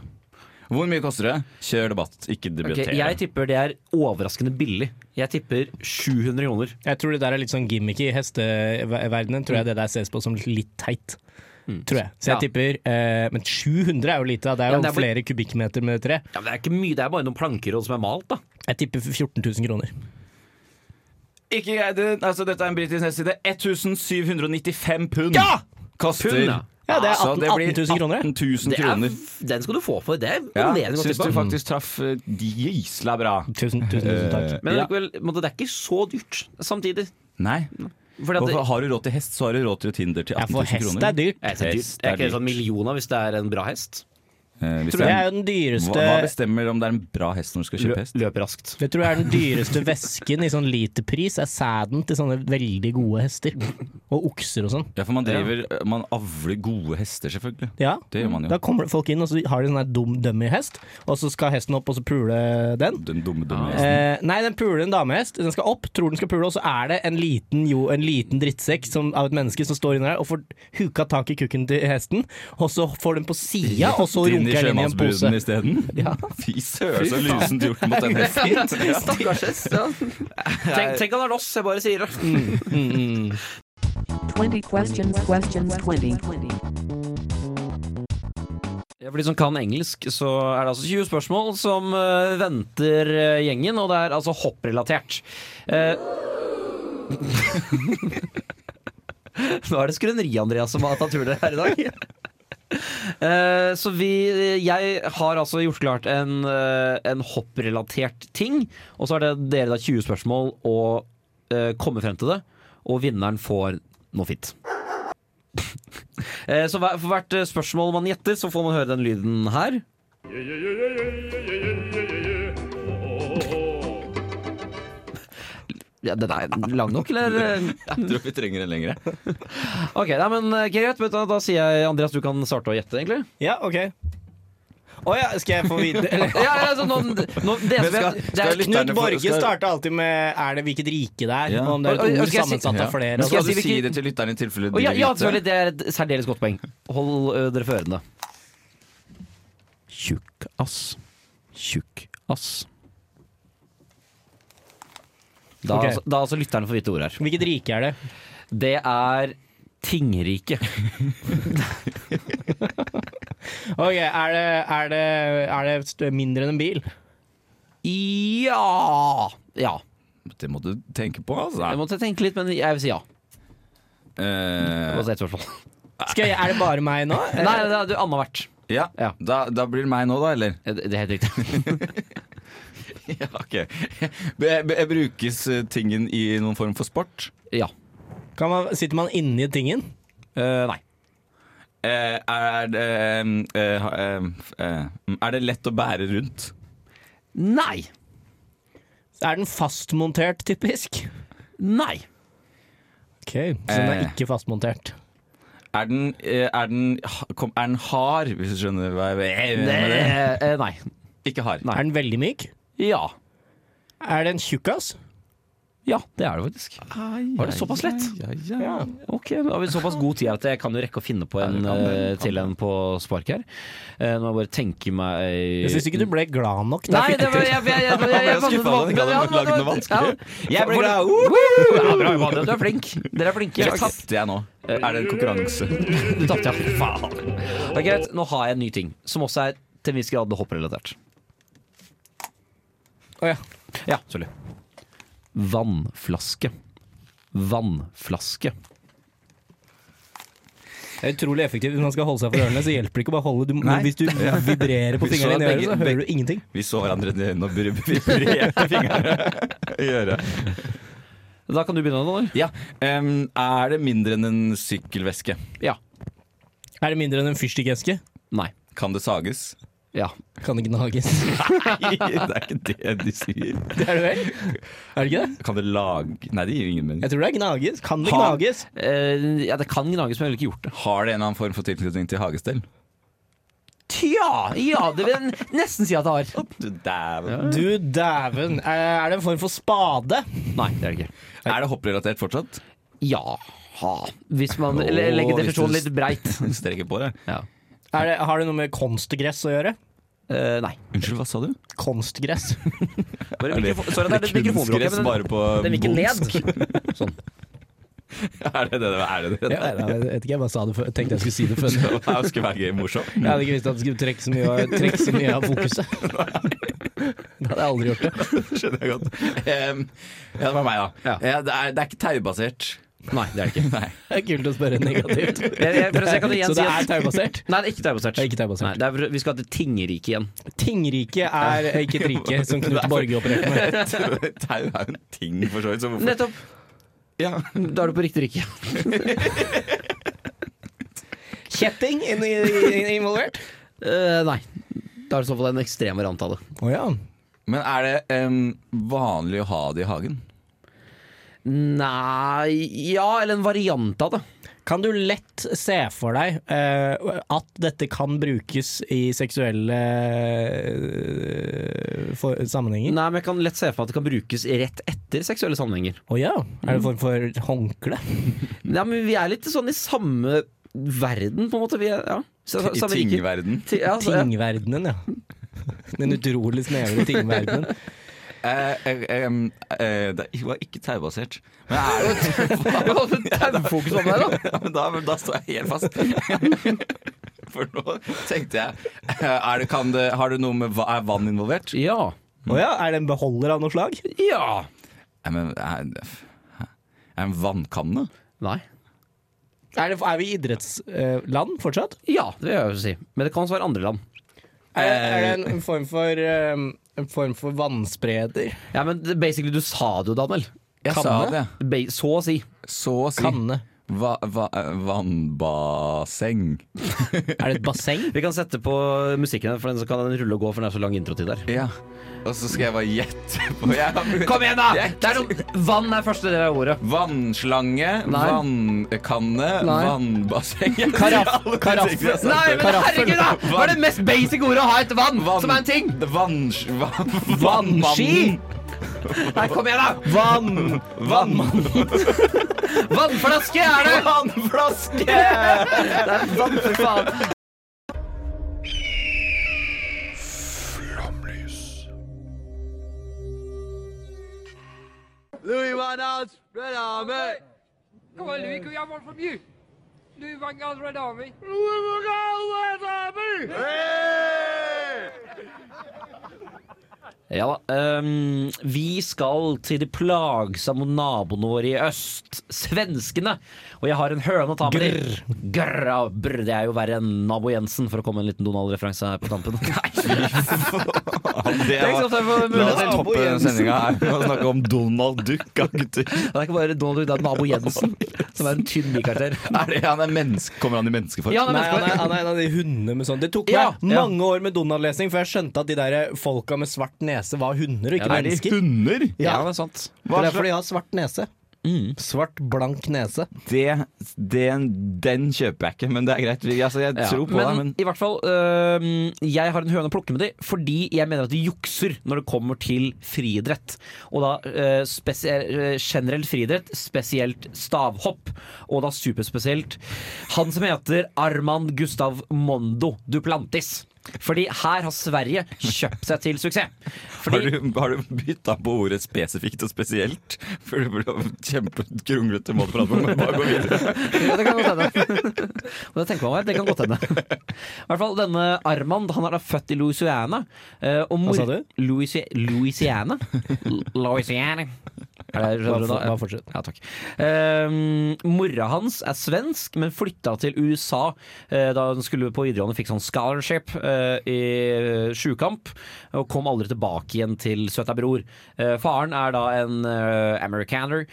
[SPEAKER 2] Hvor mye koster det? Kjør debatt, ikke
[SPEAKER 1] Ok,
[SPEAKER 2] debuter.
[SPEAKER 1] jeg tipper det er overraskende billig. Jeg tipper 700 kroner.
[SPEAKER 3] Jeg tror det der er litt sånn gimmicky i hesteverdenen. Tror jeg
[SPEAKER 2] Mm.
[SPEAKER 3] det der ses på som litt teit. Tror jeg. Så jeg
[SPEAKER 1] Ja.
[SPEAKER 3] tipper eh, Men 700 er jo lite. da. Det er
[SPEAKER 1] Ja,
[SPEAKER 3] jo
[SPEAKER 1] men det er bare-
[SPEAKER 3] flere kubikkmeter med tre.
[SPEAKER 1] Ja, men Det er ikke mye, det er bare noen planker og som er malt, da.
[SPEAKER 3] Jeg tipper 14 000 kroner.
[SPEAKER 2] Ikke jeg, det, altså Dette er en britisk nettside. 1795 pund koster.
[SPEAKER 1] Pund, ja.
[SPEAKER 3] Ja, det er
[SPEAKER 2] Så
[SPEAKER 3] 18
[SPEAKER 2] det blir
[SPEAKER 3] 18 000 kroner.
[SPEAKER 2] 18 000
[SPEAKER 1] Det er,
[SPEAKER 2] kroner.
[SPEAKER 1] den skal du få for. Det er
[SPEAKER 2] Ja,
[SPEAKER 1] imponerende godt
[SPEAKER 2] Syns du
[SPEAKER 1] tippa.
[SPEAKER 2] faktisk traff eh, gisla bra.
[SPEAKER 3] Tusen,
[SPEAKER 2] Eh,
[SPEAKER 3] tusen, tusen takk.
[SPEAKER 1] Men
[SPEAKER 2] Ja.
[SPEAKER 1] likevel, på en måte, det er ikke så dyrt samtidig.
[SPEAKER 2] Nei.
[SPEAKER 1] Fordi at
[SPEAKER 2] Og har du råd til hest, så har du råd til et hinder til
[SPEAKER 3] Ja,
[SPEAKER 2] 18
[SPEAKER 3] for
[SPEAKER 2] 000 kroner.
[SPEAKER 3] hest er dyrt.
[SPEAKER 1] Jeg er
[SPEAKER 2] Hest
[SPEAKER 1] dyrt. Det
[SPEAKER 2] er
[SPEAKER 1] er ikke
[SPEAKER 2] dyrt.
[SPEAKER 1] sånn millioner hvis det er en bra hest.
[SPEAKER 2] Eh, hvis
[SPEAKER 3] Det
[SPEAKER 2] det
[SPEAKER 3] er
[SPEAKER 2] er,
[SPEAKER 3] jo den
[SPEAKER 2] hva,
[SPEAKER 3] dyreste
[SPEAKER 2] hva bestemmer om det er en bra hest når du skal kjøpe hest?
[SPEAKER 1] Løp raskt.
[SPEAKER 3] Det tror jeg er den dyreste væsken i sånn literpris, er sæden til sånne veldig gode hester. Og okser og sånn.
[SPEAKER 2] Ja, for man driver Man avler gode hester, selvfølgelig.
[SPEAKER 3] Ja.
[SPEAKER 2] Det gjør man jo.
[SPEAKER 3] Da kommer det folk inn, og så har de en sånn her dum dummy-hest, og så skal hesten opp og så pule den.
[SPEAKER 2] Den dumme, dumme hesten.
[SPEAKER 3] Eh, nei, den puler en damehest. Den skal opp, tror den skal pule, og så er det en liten, jo, en liten drittsekk som, av et menneske som står inni der og får huka tak i kukken til hesten, og så får den på sida, og så
[SPEAKER 2] Inn i
[SPEAKER 3] runker den inn i en pose.
[SPEAKER 2] sjømannsbruden isteden?
[SPEAKER 3] Ja.
[SPEAKER 2] Fy søren, så lusent gjort mot den hesten. Ja.
[SPEAKER 1] Stakkars hest. Ja. Tenk, tenk han er loss, jeg bare sier det.
[SPEAKER 8] 20 questions, questions 20.
[SPEAKER 1] Ja, For de som kan engelsk, så er det altså 20 spørsmål som eh, venter eh, gjengen, og det er altså hopprelatert. Eh, Nå er det skrøneri, Andreas, som har tatt turen her i dag. Eh, så vi Jeg har altså gjort klart en, eh, en hopprelatert ting, og så er det dere da 20 spørsmål å eh, komme frem til det, og vinneren får noe fint. Eh, Så hver- for hvert eh, spørsmål man gjetter, så får man høre den lyden her. Ja, den er lang nok, eller?
[SPEAKER 2] Jeg tror vi trenger en lengre.
[SPEAKER 1] Ok, nei, men eh, greit. vet du hva, Da sier jeg Andreas, du kan starte å gjette, egentlig.
[SPEAKER 3] Ja, OK. Å ja, skal jeg få vite eller?
[SPEAKER 1] Ja, ja, altså, nå, nå, det som skal, det
[SPEAKER 2] skal jeg
[SPEAKER 1] er,
[SPEAKER 2] lytte-
[SPEAKER 3] Knut
[SPEAKER 2] Lytterne får-
[SPEAKER 3] Borge
[SPEAKER 2] skal-
[SPEAKER 3] starta alltid med 'er det hvilket rike det er',
[SPEAKER 2] Ja.
[SPEAKER 3] og om det er
[SPEAKER 1] Og-
[SPEAKER 3] et
[SPEAKER 1] og-
[SPEAKER 3] ord
[SPEAKER 1] skal jeg si-
[SPEAKER 3] sammensatt av flere. altså.
[SPEAKER 2] Men skal
[SPEAKER 3] og
[SPEAKER 1] Skal
[SPEAKER 2] du
[SPEAKER 1] jeg si
[SPEAKER 2] si
[SPEAKER 1] hvilken-
[SPEAKER 2] det til lytteren i tilfelle
[SPEAKER 1] Å,
[SPEAKER 2] de
[SPEAKER 1] ja, ja,
[SPEAKER 2] vil
[SPEAKER 1] selvfølgelig.
[SPEAKER 2] vite?
[SPEAKER 1] Det er et særdeles godt poeng. Hold ø, dere for ørene.
[SPEAKER 6] Tjukkass. Tjukkass.
[SPEAKER 1] Da,
[SPEAKER 3] Ok.
[SPEAKER 1] altså- da altså lytterne får vite ordet her.
[SPEAKER 3] sånn. Hvilket rike er det?
[SPEAKER 1] Det er Tingrike.
[SPEAKER 3] Ok, er det, er det, er det st- mindre enn en bil?
[SPEAKER 1] Ja Ja.
[SPEAKER 2] Det må du tenke på,
[SPEAKER 1] Jeg
[SPEAKER 2] altså.
[SPEAKER 1] måtte tenke litt, men jeg vil si ja. Det
[SPEAKER 2] Eh,
[SPEAKER 1] var ett spørsmål.
[SPEAKER 3] Skal jeg, er det bare meg nå?
[SPEAKER 1] Nei, det er du annethvert.
[SPEAKER 2] ja,
[SPEAKER 1] Ja.
[SPEAKER 2] da, da blir det meg nå, da, eller?
[SPEAKER 1] Det det er helt riktig.
[SPEAKER 2] Ja, ok. Be- be- Brukes eh, tingen i noen form for sport?
[SPEAKER 1] Ja.
[SPEAKER 3] Kan man, sitter man inni tingen?
[SPEAKER 1] nei.
[SPEAKER 2] Eh, er, det, eh, eh, ha- eh, f- eh, er det lett å bære rundt?
[SPEAKER 1] Nei.
[SPEAKER 3] Er den fastmontert, typisk?
[SPEAKER 1] Nei.
[SPEAKER 3] Ok, Så den er
[SPEAKER 2] Eh.
[SPEAKER 3] ikke fastmontert.
[SPEAKER 2] Er den, eh, er den, ha- kom, er den hard, hvis du skjønner hva jeg mener?
[SPEAKER 1] Eh, eh, nei.
[SPEAKER 2] Ikke hard.
[SPEAKER 3] Er den veldig myk?
[SPEAKER 1] Ja.
[SPEAKER 3] Er det en tjukkas?
[SPEAKER 1] Ja, det er det faktisk.
[SPEAKER 2] Ah.
[SPEAKER 1] Var det såpass lett?
[SPEAKER 3] Ja.
[SPEAKER 1] Ok, da har vi såpass god tid at jeg kan jo rekke å finne på en eh, til en på spark her. Eh, Nå må jeg bare tenke meg
[SPEAKER 3] Jeg syns ikke du ble glad nok. da
[SPEAKER 1] Nei,
[SPEAKER 3] jeg
[SPEAKER 1] det
[SPEAKER 3] fikk
[SPEAKER 1] var
[SPEAKER 3] til.
[SPEAKER 1] jeg, jeg, jeg, jeg, jeg,
[SPEAKER 2] Jeg ble skuffet
[SPEAKER 1] jeg,
[SPEAKER 2] da du hadde lagd noe vanskelig.
[SPEAKER 1] Jeg ble glad. Woo! Ja, bra, Johanne. Du er flink. Dere er flinke.
[SPEAKER 2] Jeg tapte jeg nå. Er det en konkurranse?
[SPEAKER 1] Du tapte, ja. Faen. Det er greit. Nå har jeg en ny ting, som også er til en viss grad hopprelatert.
[SPEAKER 3] Å, ja.
[SPEAKER 1] Ja, sorry. Vannflaske. Vannflaske.
[SPEAKER 3] Det er utrolig effektivt. Hvis man skal holde seg for ørene, så hjelper det ikke å bare holde. Du, må-
[SPEAKER 2] Nei.
[SPEAKER 3] hvis du vibrerer på
[SPEAKER 2] Vi så
[SPEAKER 3] fingrene dine, i
[SPEAKER 2] begge-
[SPEAKER 3] øret, så hører du ingenting.
[SPEAKER 2] Vi så hverandre i øynene og br- vibrerte fingrene i øret.
[SPEAKER 1] Da kan du begynne, Donner.
[SPEAKER 2] Ja. em, er det mindre enn en sykkelveske?
[SPEAKER 1] Ja.
[SPEAKER 3] Er det mindre enn en fyrstikkeske?
[SPEAKER 1] Nei.
[SPEAKER 2] Kan det sages?
[SPEAKER 1] Ja.
[SPEAKER 3] Kan det gnages?
[SPEAKER 2] Nei, det er ikke det de sier.
[SPEAKER 3] Det er det vel? Er det ikke det?
[SPEAKER 2] Kan det lage Nei, det gir ingen mening.
[SPEAKER 3] Jeg tror det er gnages. Kan det
[SPEAKER 2] Ha-
[SPEAKER 3] gnages?
[SPEAKER 1] Eh, ja, det kan gnages, men jeg ville ikke gjort det.
[SPEAKER 2] Har det en eller annen form for tilknytning til hagestell?
[SPEAKER 1] Tja! Ja, det vil jeg nesten si at det har.
[SPEAKER 2] Du dæven.
[SPEAKER 3] Du dæven. Er det en form for spade?
[SPEAKER 1] Nei, det er det ikke.
[SPEAKER 2] Er det hopprelatert fortsatt?
[SPEAKER 1] Ja. Hvis man
[SPEAKER 2] Åh,
[SPEAKER 1] eller legger
[SPEAKER 2] hvis du-
[SPEAKER 1] definisjonen litt breit.
[SPEAKER 2] Streker på det.
[SPEAKER 1] Ja.
[SPEAKER 3] Er det, har det noe med konstgress å gjøre?
[SPEAKER 1] Eh, nei.
[SPEAKER 2] Unnskyld, hva sa du?
[SPEAKER 3] Konstgress.
[SPEAKER 2] Er
[SPEAKER 1] Bare
[SPEAKER 2] det-
[SPEAKER 1] mikrofon, sorry, det er det mikrofonbråket,
[SPEAKER 2] kunstgress
[SPEAKER 1] men den,
[SPEAKER 2] bare på
[SPEAKER 1] den gikk
[SPEAKER 2] boks?
[SPEAKER 1] ned.
[SPEAKER 2] Er det det det er? Det det?
[SPEAKER 3] Ja, nei, jeg vet ikke, jeg bare sa det før. Jeg tenkte jeg skulle si det før.
[SPEAKER 2] det her skulle være gøy morsomt.
[SPEAKER 3] Jeg hadde ikke visst at det skulle trekke så mye, trekke så mye av fokuset. Da hadde jeg aldri gjort det.
[SPEAKER 2] Skjønner jeg godt. Em, ja, det var meg, da.
[SPEAKER 1] Ja.
[SPEAKER 2] Ja, det, er, det er ikke taubasert.
[SPEAKER 1] Nei, det er det ikke.
[SPEAKER 2] Nei.
[SPEAKER 3] Det er kult å spørre negativt.
[SPEAKER 1] Jeg, jeg, for å se, jeg kan igjen
[SPEAKER 3] Så
[SPEAKER 1] si
[SPEAKER 3] det
[SPEAKER 1] at-
[SPEAKER 3] er taubasert?
[SPEAKER 1] Nei, det er ikke taubasert.
[SPEAKER 3] Det er ikke taubasert.
[SPEAKER 1] Nei, det er, vi skal til Tingerike igjen.
[SPEAKER 3] Tingrike er ikke et rike som Knut Borge opererte med.
[SPEAKER 2] Tau er jo en ting, for så vidt. Så hvorfor
[SPEAKER 1] Nettopp!
[SPEAKER 2] Ja.
[SPEAKER 1] Da er du på riktig rike.
[SPEAKER 3] Kjetting inn- inn- involvert?
[SPEAKER 1] Eh, nei. Da er det i så fall en ekstrem variant av det.
[SPEAKER 3] Å ja.
[SPEAKER 2] Men er det em, vanlig å ha det i hagen?
[SPEAKER 1] Nei Ja, eller en variant av det.
[SPEAKER 3] Kan du lett se for deg eh, at dette kan brukes i seksuelle eh, for, sammenhenger?
[SPEAKER 1] Nei, men jeg kan lett se for meg at det kan brukes rett etter seksuelle sammenhenger.
[SPEAKER 3] Å ja.
[SPEAKER 1] Mm.
[SPEAKER 3] Er det en form for håndkle?
[SPEAKER 1] Ja, men vi er litt sånn i samme verden, på en måte. Vi er, ja. Sa-
[SPEAKER 2] I
[SPEAKER 1] samme rike.
[SPEAKER 2] tingverden?
[SPEAKER 1] Ti- ja, altså, ja.
[SPEAKER 3] Tingverdenen, ja. Den utrolig snevre tingverdenen.
[SPEAKER 2] Eh, eh, em, eh, det var ikke taubasert. Men er det
[SPEAKER 1] Hva var det taufokus om der, da?
[SPEAKER 2] ja, men da, men da står jeg helt fast. For nå tenkte jeg eh, er det, kan det, Har det noe med hva- Er vann involvert?
[SPEAKER 1] Ja.
[SPEAKER 3] Å ja, er det en beholder av noe slag?
[SPEAKER 1] Ja.
[SPEAKER 2] Nei, men er, er det en vannkanne?
[SPEAKER 1] Nei.
[SPEAKER 3] Er, det, er vi i idrettsland fortsatt?
[SPEAKER 1] Ja, det vil jeg jo si. Men det kan også være andre land.
[SPEAKER 3] Er, er det en, en form for eh, en form for vannspreder?
[SPEAKER 1] Ja, men det- basically, du sa det jo, Daniel.
[SPEAKER 2] Jeg
[SPEAKER 3] Kanne?
[SPEAKER 2] sa det.
[SPEAKER 1] Ba så å si.
[SPEAKER 2] Så å si.
[SPEAKER 3] Kanne.
[SPEAKER 2] Va, va, eh, vannbasseng.
[SPEAKER 3] Er det et basseng?
[SPEAKER 1] Vi kan sette på musikken, for den så kan den rulle og gå, for den er så lang introtid der.
[SPEAKER 2] Ja. Og så skal jeg bare gjette på jeg har-
[SPEAKER 1] Kom igjen, da!
[SPEAKER 2] Jeg-
[SPEAKER 1] Det er noe Vann er første del av ordet.
[SPEAKER 2] Vannslange,
[SPEAKER 1] Nei.
[SPEAKER 2] vannkanne,
[SPEAKER 1] Nei.
[SPEAKER 2] vannbasseng. Jeg sier
[SPEAKER 3] Karaff-
[SPEAKER 2] alle de
[SPEAKER 3] karaff-
[SPEAKER 2] tingene jeg sa.
[SPEAKER 1] Nei, men herregud, da! Hva er det mest basic ordet å ha etter vann,
[SPEAKER 2] Vann-
[SPEAKER 1] som er en ting?
[SPEAKER 2] Vanns... Vann...
[SPEAKER 3] Vannski!
[SPEAKER 1] Nei, kom igjen, da!
[SPEAKER 3] Vann!
[SPEAKER 2] Vannmann.
[SPEAKER 1] Vannflaske er det! Vannflaske! det er vann, for faen. Ja da. ehm, vi skal til de plagsomme naboene våre i øst. Svenskene. Og jeg har en høne å ta med dem. Grr, ja, brr. Det er jo verre enn nabo Jensen, for å komme med en liten Donald-referanse her på tampen.
[SPEAKER 2] Det
[SPEAKER 1] Tenk
[SPEAKER 2] var,
[SPEAKER 1] sånn at jeg får
[SPEAKER 2] la
[SPEAKER 1] mulighet
[SPEAKER 2] oss
[SPEAKER 1] til å
[SPEAKER 2] toppe
[SPEAKER 1] Jensen.
[SPEAKER 2] sendinga her med å snakke om Donald Duck. ja, gutter.
[SPEAKER 1] Det er ikke bare Donald Duck, det er nabo Jensen, som er en tynn bikarakter.
[SPEAKER 2] Er det, han er menneske, kommer han i menneskeform?
[SPEAKER 3] Nei, han er, han er en av de hundene med sånn Det tok meg
[SPEAKER 1] Ja, ja.
[SPEAKER 3] mange år med Donald-lesning før jeg skjønte at de der folka med svart nese var hunder og
[SPEAKER 1] Ja,
[SPEAKER 3] ikke
[SPEAKER 1] det er de
[SPEAKER 3] mennesker.
[SPEAKER 2] Hunder?
[SPEAKER 1] Ja,
[SPEAKER 3] Ja.
[SPEAKER 1] det er sant.
[SPEAKER 3] Det er derfor de har svart nese. Mm. Svart, blank nese.
[SPEAKER 2] Det, den, den kjøper jeg ikke, men det er greit. Vi- Altså, jeg
[SPEAKER 1] Ja.
[SPEAKER 2] tror på
[SPEAKER 1] men,
[SPEAKER 2] deg, men
[SPEAKER 1] i hvert fall, øhm, jeg har en høne å plukke med de, fordi jeg mener at de jukser når det kommer til friidrett. Og da øh, spesie- øh, generell friidrett, spesielt stavhopp, og da superspesielt han som heter Armand Gustav Mondo Duplantis. Fordi her har Sverige kjøpt seg til suksess.
[SPEAKER 2] har
[SPEAKER 1] Fordi,
[SPEAKER 2] du, har du bytta på ordet spesifikt og spesielt? For det ble kjempegrunglete måte å prate på, men bare gå videre.
[SPEAKER 1] Ja, det kan godt hende. Og det tenker man meg, det kan godt hende. I hvert fall denne Armand, han er da født i Louisiana. eh, Og mor
[SPEAKER 3] sa du?
[SPEAKER 1] Louisi Louisiana. L- Louisiana. Er det, skjønner du da?
[SPEAKER 3] Bare for- bare fortsett.
[SPEAKER 1] Ja, takk. Ehm, mora hans er svensk, men flytta til USA eh, da hun skulle på videregående. Fikk sånn scholarship eh, i sjukamp, og kom aldri tilbake igjen til søta bror. Eh, faren er da en eh, americaner.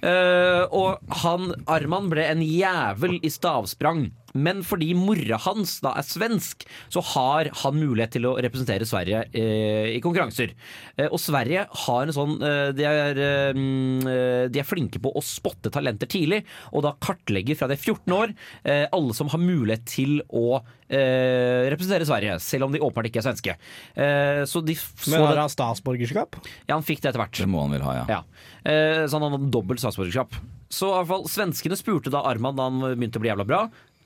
[SPEAKER 1] Eh, og han, Arman, ble en jævel i stavsprang. Men fordi mora hans da er svensk, så har han mulighet til å representere Sverige eh, i konkurranser. Eh, og Sverige har en sånn eh, de, er, eh, mm, eh, de er flinke på å spotte talenter tidlig, og da kartlegger fra de er 14 år eh, alle som har mulighet til å eh, representere Sverige, selv om de åpenbart ikke er svenske. Eh, så de f- så
[SPEAKER 3] Men har
[SPEAKER 1] det,
[SPEAKER 3] han statsborgerskap?
[SPEAKER 1] ja, han fikk det etter hvert.
[SPEAKER 2] Det må han vel ha, ja.
[SPEAKER 1] Ja. Eh, så han hadde dobbelt statsborgerskap. Så i hvert fall, svenskene spurte da Arman da han begynte å bli jævla bra.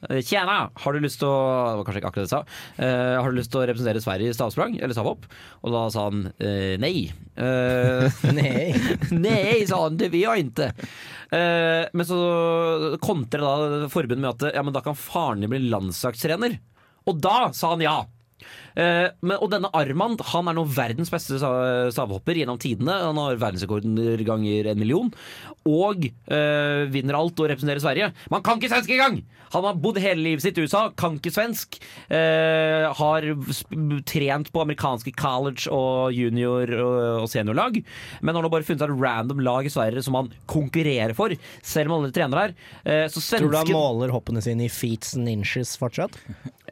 [SPEAKER 1] eh, Tjena, har du lyst til å Det var kanskje ikke akkurat det jeg sa. Eh, har du lyst til å representere Sverige i stavsprang? Eller stavhopp? Og da sa han eh, nei. Eh,
[SPEAKER 3] Nei.
[SPEAKER 1] Nei, sa han, det vil jeg ikke. Eh, men så kontrer da forbundet med at ja, men da kan faren din bli landslagstrener. Og da sa han ja. Eh, men, og denne Armand han er nå verdens beste sa- stavhopper gjennom tidene. Han har verdensrekorden ganger en million. Og eh, vinner alt og representerer Sverige. Men han kan ikke svensk engang! Han har bodd hele livet sitt i USA, kan ikke svensk. Eh, har sp- trent på amerikanske college og junior- og, og seniorlag. Men har nå bare funnet seg et random lag i Sverige som han konkurrerer for, selv om han aldri trener der. Eh, så
[SPEAKER 3] Tror du han
[SPEAKER 1] svensken
[SPEAKER 3] måler hoppene sine i feets and inches fortsatt?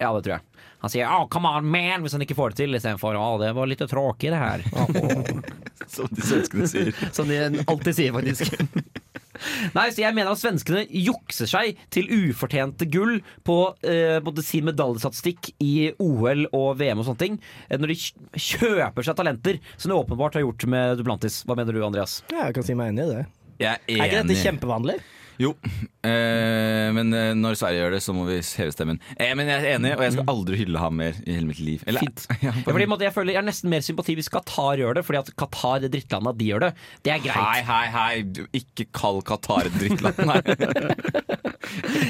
[SPEAKER 1] ja, det tror jeg. Han sier 'oh, come on, man' hvis han ikke får det til, istedenfor 'å, det var litt tråkig, det her'.
[SPEAKER 2] Som de svenskene sier.
[SPEAKER 1] Som de alltid sier, faktisk. Nei, så jeg mener at svenskene jukser seg til ufortjente gull på eh, både sin medaljestatistikk i OL og VM og sånne ting, eh, når de kj- kjøper seg talenter, som de åpenbart har gjort med Duplantis. Hva mener du, Andreas?
[SPEAKER 3] Ja, jeg kan si meg enig i det.
[SPEAKER 2] Jeg er
[SPEAKER 3] Er
[SPEAKER 2] enig.
[SPEAKER 3] ikke dette kjempevanlig?
[SPEAKER 2] Jo, eh, men eh, når Sverige gjør det, så må vi heve stemmen. Eh, men jeg er enig, og jeg skal aldri hylle ham mer i hele mitt liv. Eller-
[SPEAKER 1] Fint.
[SPEAKER 2] Ja,
[SPEAKER 1] Ja, fordi, på en måte, jeg føler jeg er nesten mer sympati hvis Qatar gjør det, fordi at Qatar, det drittlandet, de gjør det. Det er greit.
[SPEAKER 2] Hei, hei, hei, du, ikke kall Qatar et drittland. Nei.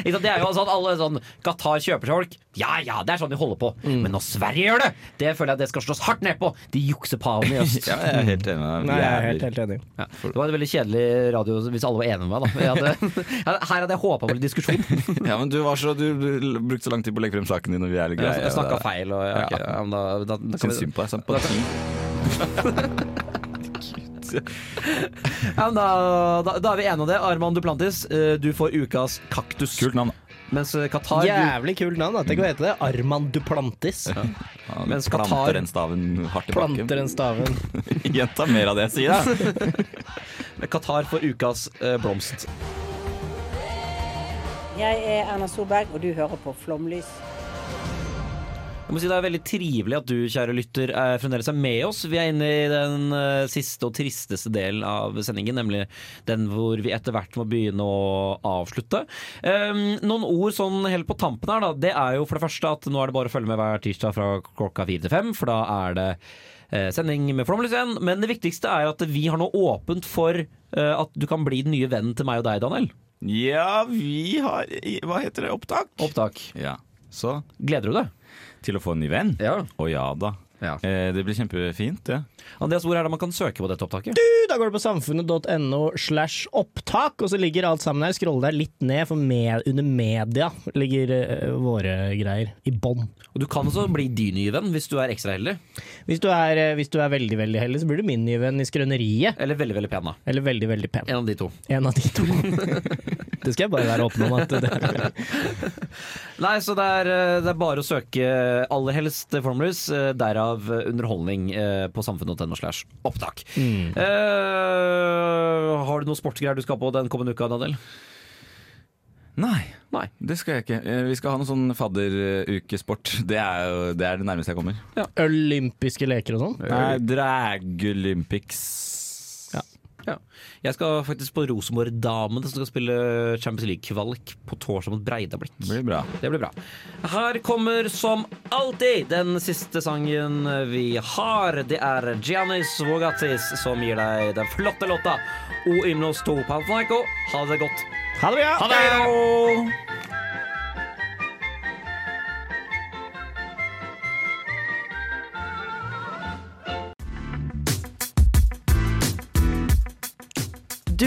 [SPEAKER 1] Ikke sant? Det er jo sånn at alle sånn Qatar kjøper seg folk. Ja ja, det er sånn de holder på.
[SPEAKER 2] Mm.
[SPEAKER 1] Men når Sverige gjør det, det føler jeg det skal slås hardt ned på. De jukser paven i øst.
[SPEAKER 2] Ja, Mm. jeg er helt enig med deg.
[SPEAKER 3] Nei, jeg er
[SPEAKER 2] Jævlig.
[SPEAKER 3] helt, helt enig.
[SPEAKER 1] Ja. Det var en veldig kjedelig radio hvis alle var enige med meg. Da. Jeg hadde, jeg hadde- her hadde jeg håpa på litt diskusjon.
[SPEAKER 2] Ja, men du, var så, du, du brukte så lang tid på å legge frem saken din, og vi er litt greie.
[SPEAKER 1] Jeg snakka feil. Og, ja, ok, ja, men da, da, da kan
[SPEAKER 2] Syns
[SPEAKER 1] vi,
[SPEAKER 2] synd på deg. Sympati.
[SPEAKER 1] ja, men da, da, da er vi enige om det. Arman Duplantis, eh, du får ukas kaktus.
[SPEAKER 2] Kult navn.
[SPEAKER 1] Mens eh, Qatar du,
[SPEAKER 3] Jævlig kult navn. da. Tenk å hete det. Arman Duplantis.
[SPEAKER 2] Ja,
[SPEAKER 1] Mens
[SPEAKER 2] planter
[SPEAKER 1] Qatar-
[SPEAKER 2] den staven hardt i bakken.
[SPEAKER 3] Planter en staven.
[SPEAKER 2] Gjenta mer av det jeg sier. da.
[SPEAKER 1] Qatar får ukas eh, blomst.
[SPEAKER 9] Jeg er Erna Solberg, og du hører på Flomlys.
[SPEAKER 1] Jeg må si Det er veldig trivelig at du, kjære lytter, er fremdeles er med oss. Vi er inne i den eh, siste og tristeste delen av sendingen, nemlig den hvor vi etter hvert må begynne å avslutte. Ehm, noen ord sånn helt på tampen her, da. Det er jo for det første at nå er det bare å følge med hver tirsdag fra klokka fire til fem, for da er det eh, sending med Flomlys igjen. Men det viktigste er at vi har nå åpent for eh, at du kan bli den nye vennen til meg og deg, Daniel.
[SPEAKER 2] Ja, vi har Hva heter det? Opptak?
[SPEAKER 1] Opptak.
[SPEAKER 2] Ja. Så
[SPEAKER 1] Gleder du deg?
[SPEAKER 2] til å få en ny venn?
[SPEAKER 1] Ja.
[SPEAKER 2] Å ja da. Eh, Det blir kjempefint, det.
[SPEAKER 1] Andreas, hvor er det man kan søke på dette opptaket?
[SPEAKER 3] Du, da går du på samfunnet.no slash opptak, og så ligger alt sammen her. Skroll deg litt ned, for med, under media ligger eh, våre greier i bånn.
[SPEAKER 1] Og du kan også bli din nye venn hvis du er ekstra heldig.
[SPEAKER 3] Hvis du er, eh, hvis du er veldig, veldig heldig, så blir du min nye venn i Skrøneriet.
[SPEAKER 1] Eller veldig, veldig pen, da.
[SPEAKER 3] Eller veldig, veldig pen.
[SPEAKER 1] En av de to.
[SPEAKER 3] En av de to. det skal jeg bare være åpen om at det
[SPEAKER 1] Nei, så det er, eh, det er bare å søke aller helst Formlus, eh, derav eh, underholdning eh, på samfunnet.no slash opptak.
[SPEAKER 3] Mm.
[SPEAKER 1] Eh, har du noen sportsgreier du skal på den kommende uka, Daniel?
[SPEAKER 2] Nei,
[SPEAKER 1] Nei.
[SPEAKER 2] det skal jeg ikke. Eh, Vi skal ha noe sånn fadderukesport. Det er jo det, er det nærmeste jeg kommer.
[SPEAKER 3] Olympiske leker og sånn.
[SPEAKER 2] Nei, Dragolympics.
[SPEAKER 3] Ja.
[SPEAKER 1] Ja. Jeg skal faktisk på Rosenborg Damene, som skal spille Champions League-kvalik på torsdag mot Breidablikk.
[SPEAKER 2] Det blir bra.
[SPEAKER 1] Det blir bra. Her kommer som alltid den siste sangen vi har. Det er Giannis Vogatis som gir deg den flotte låta O Ymnos to Panathinaiko. Ha det godt.
[SPEAKER 3] Ha det bra!
[SPEAKER 1] Ha det!
[SPEAKER 10] Du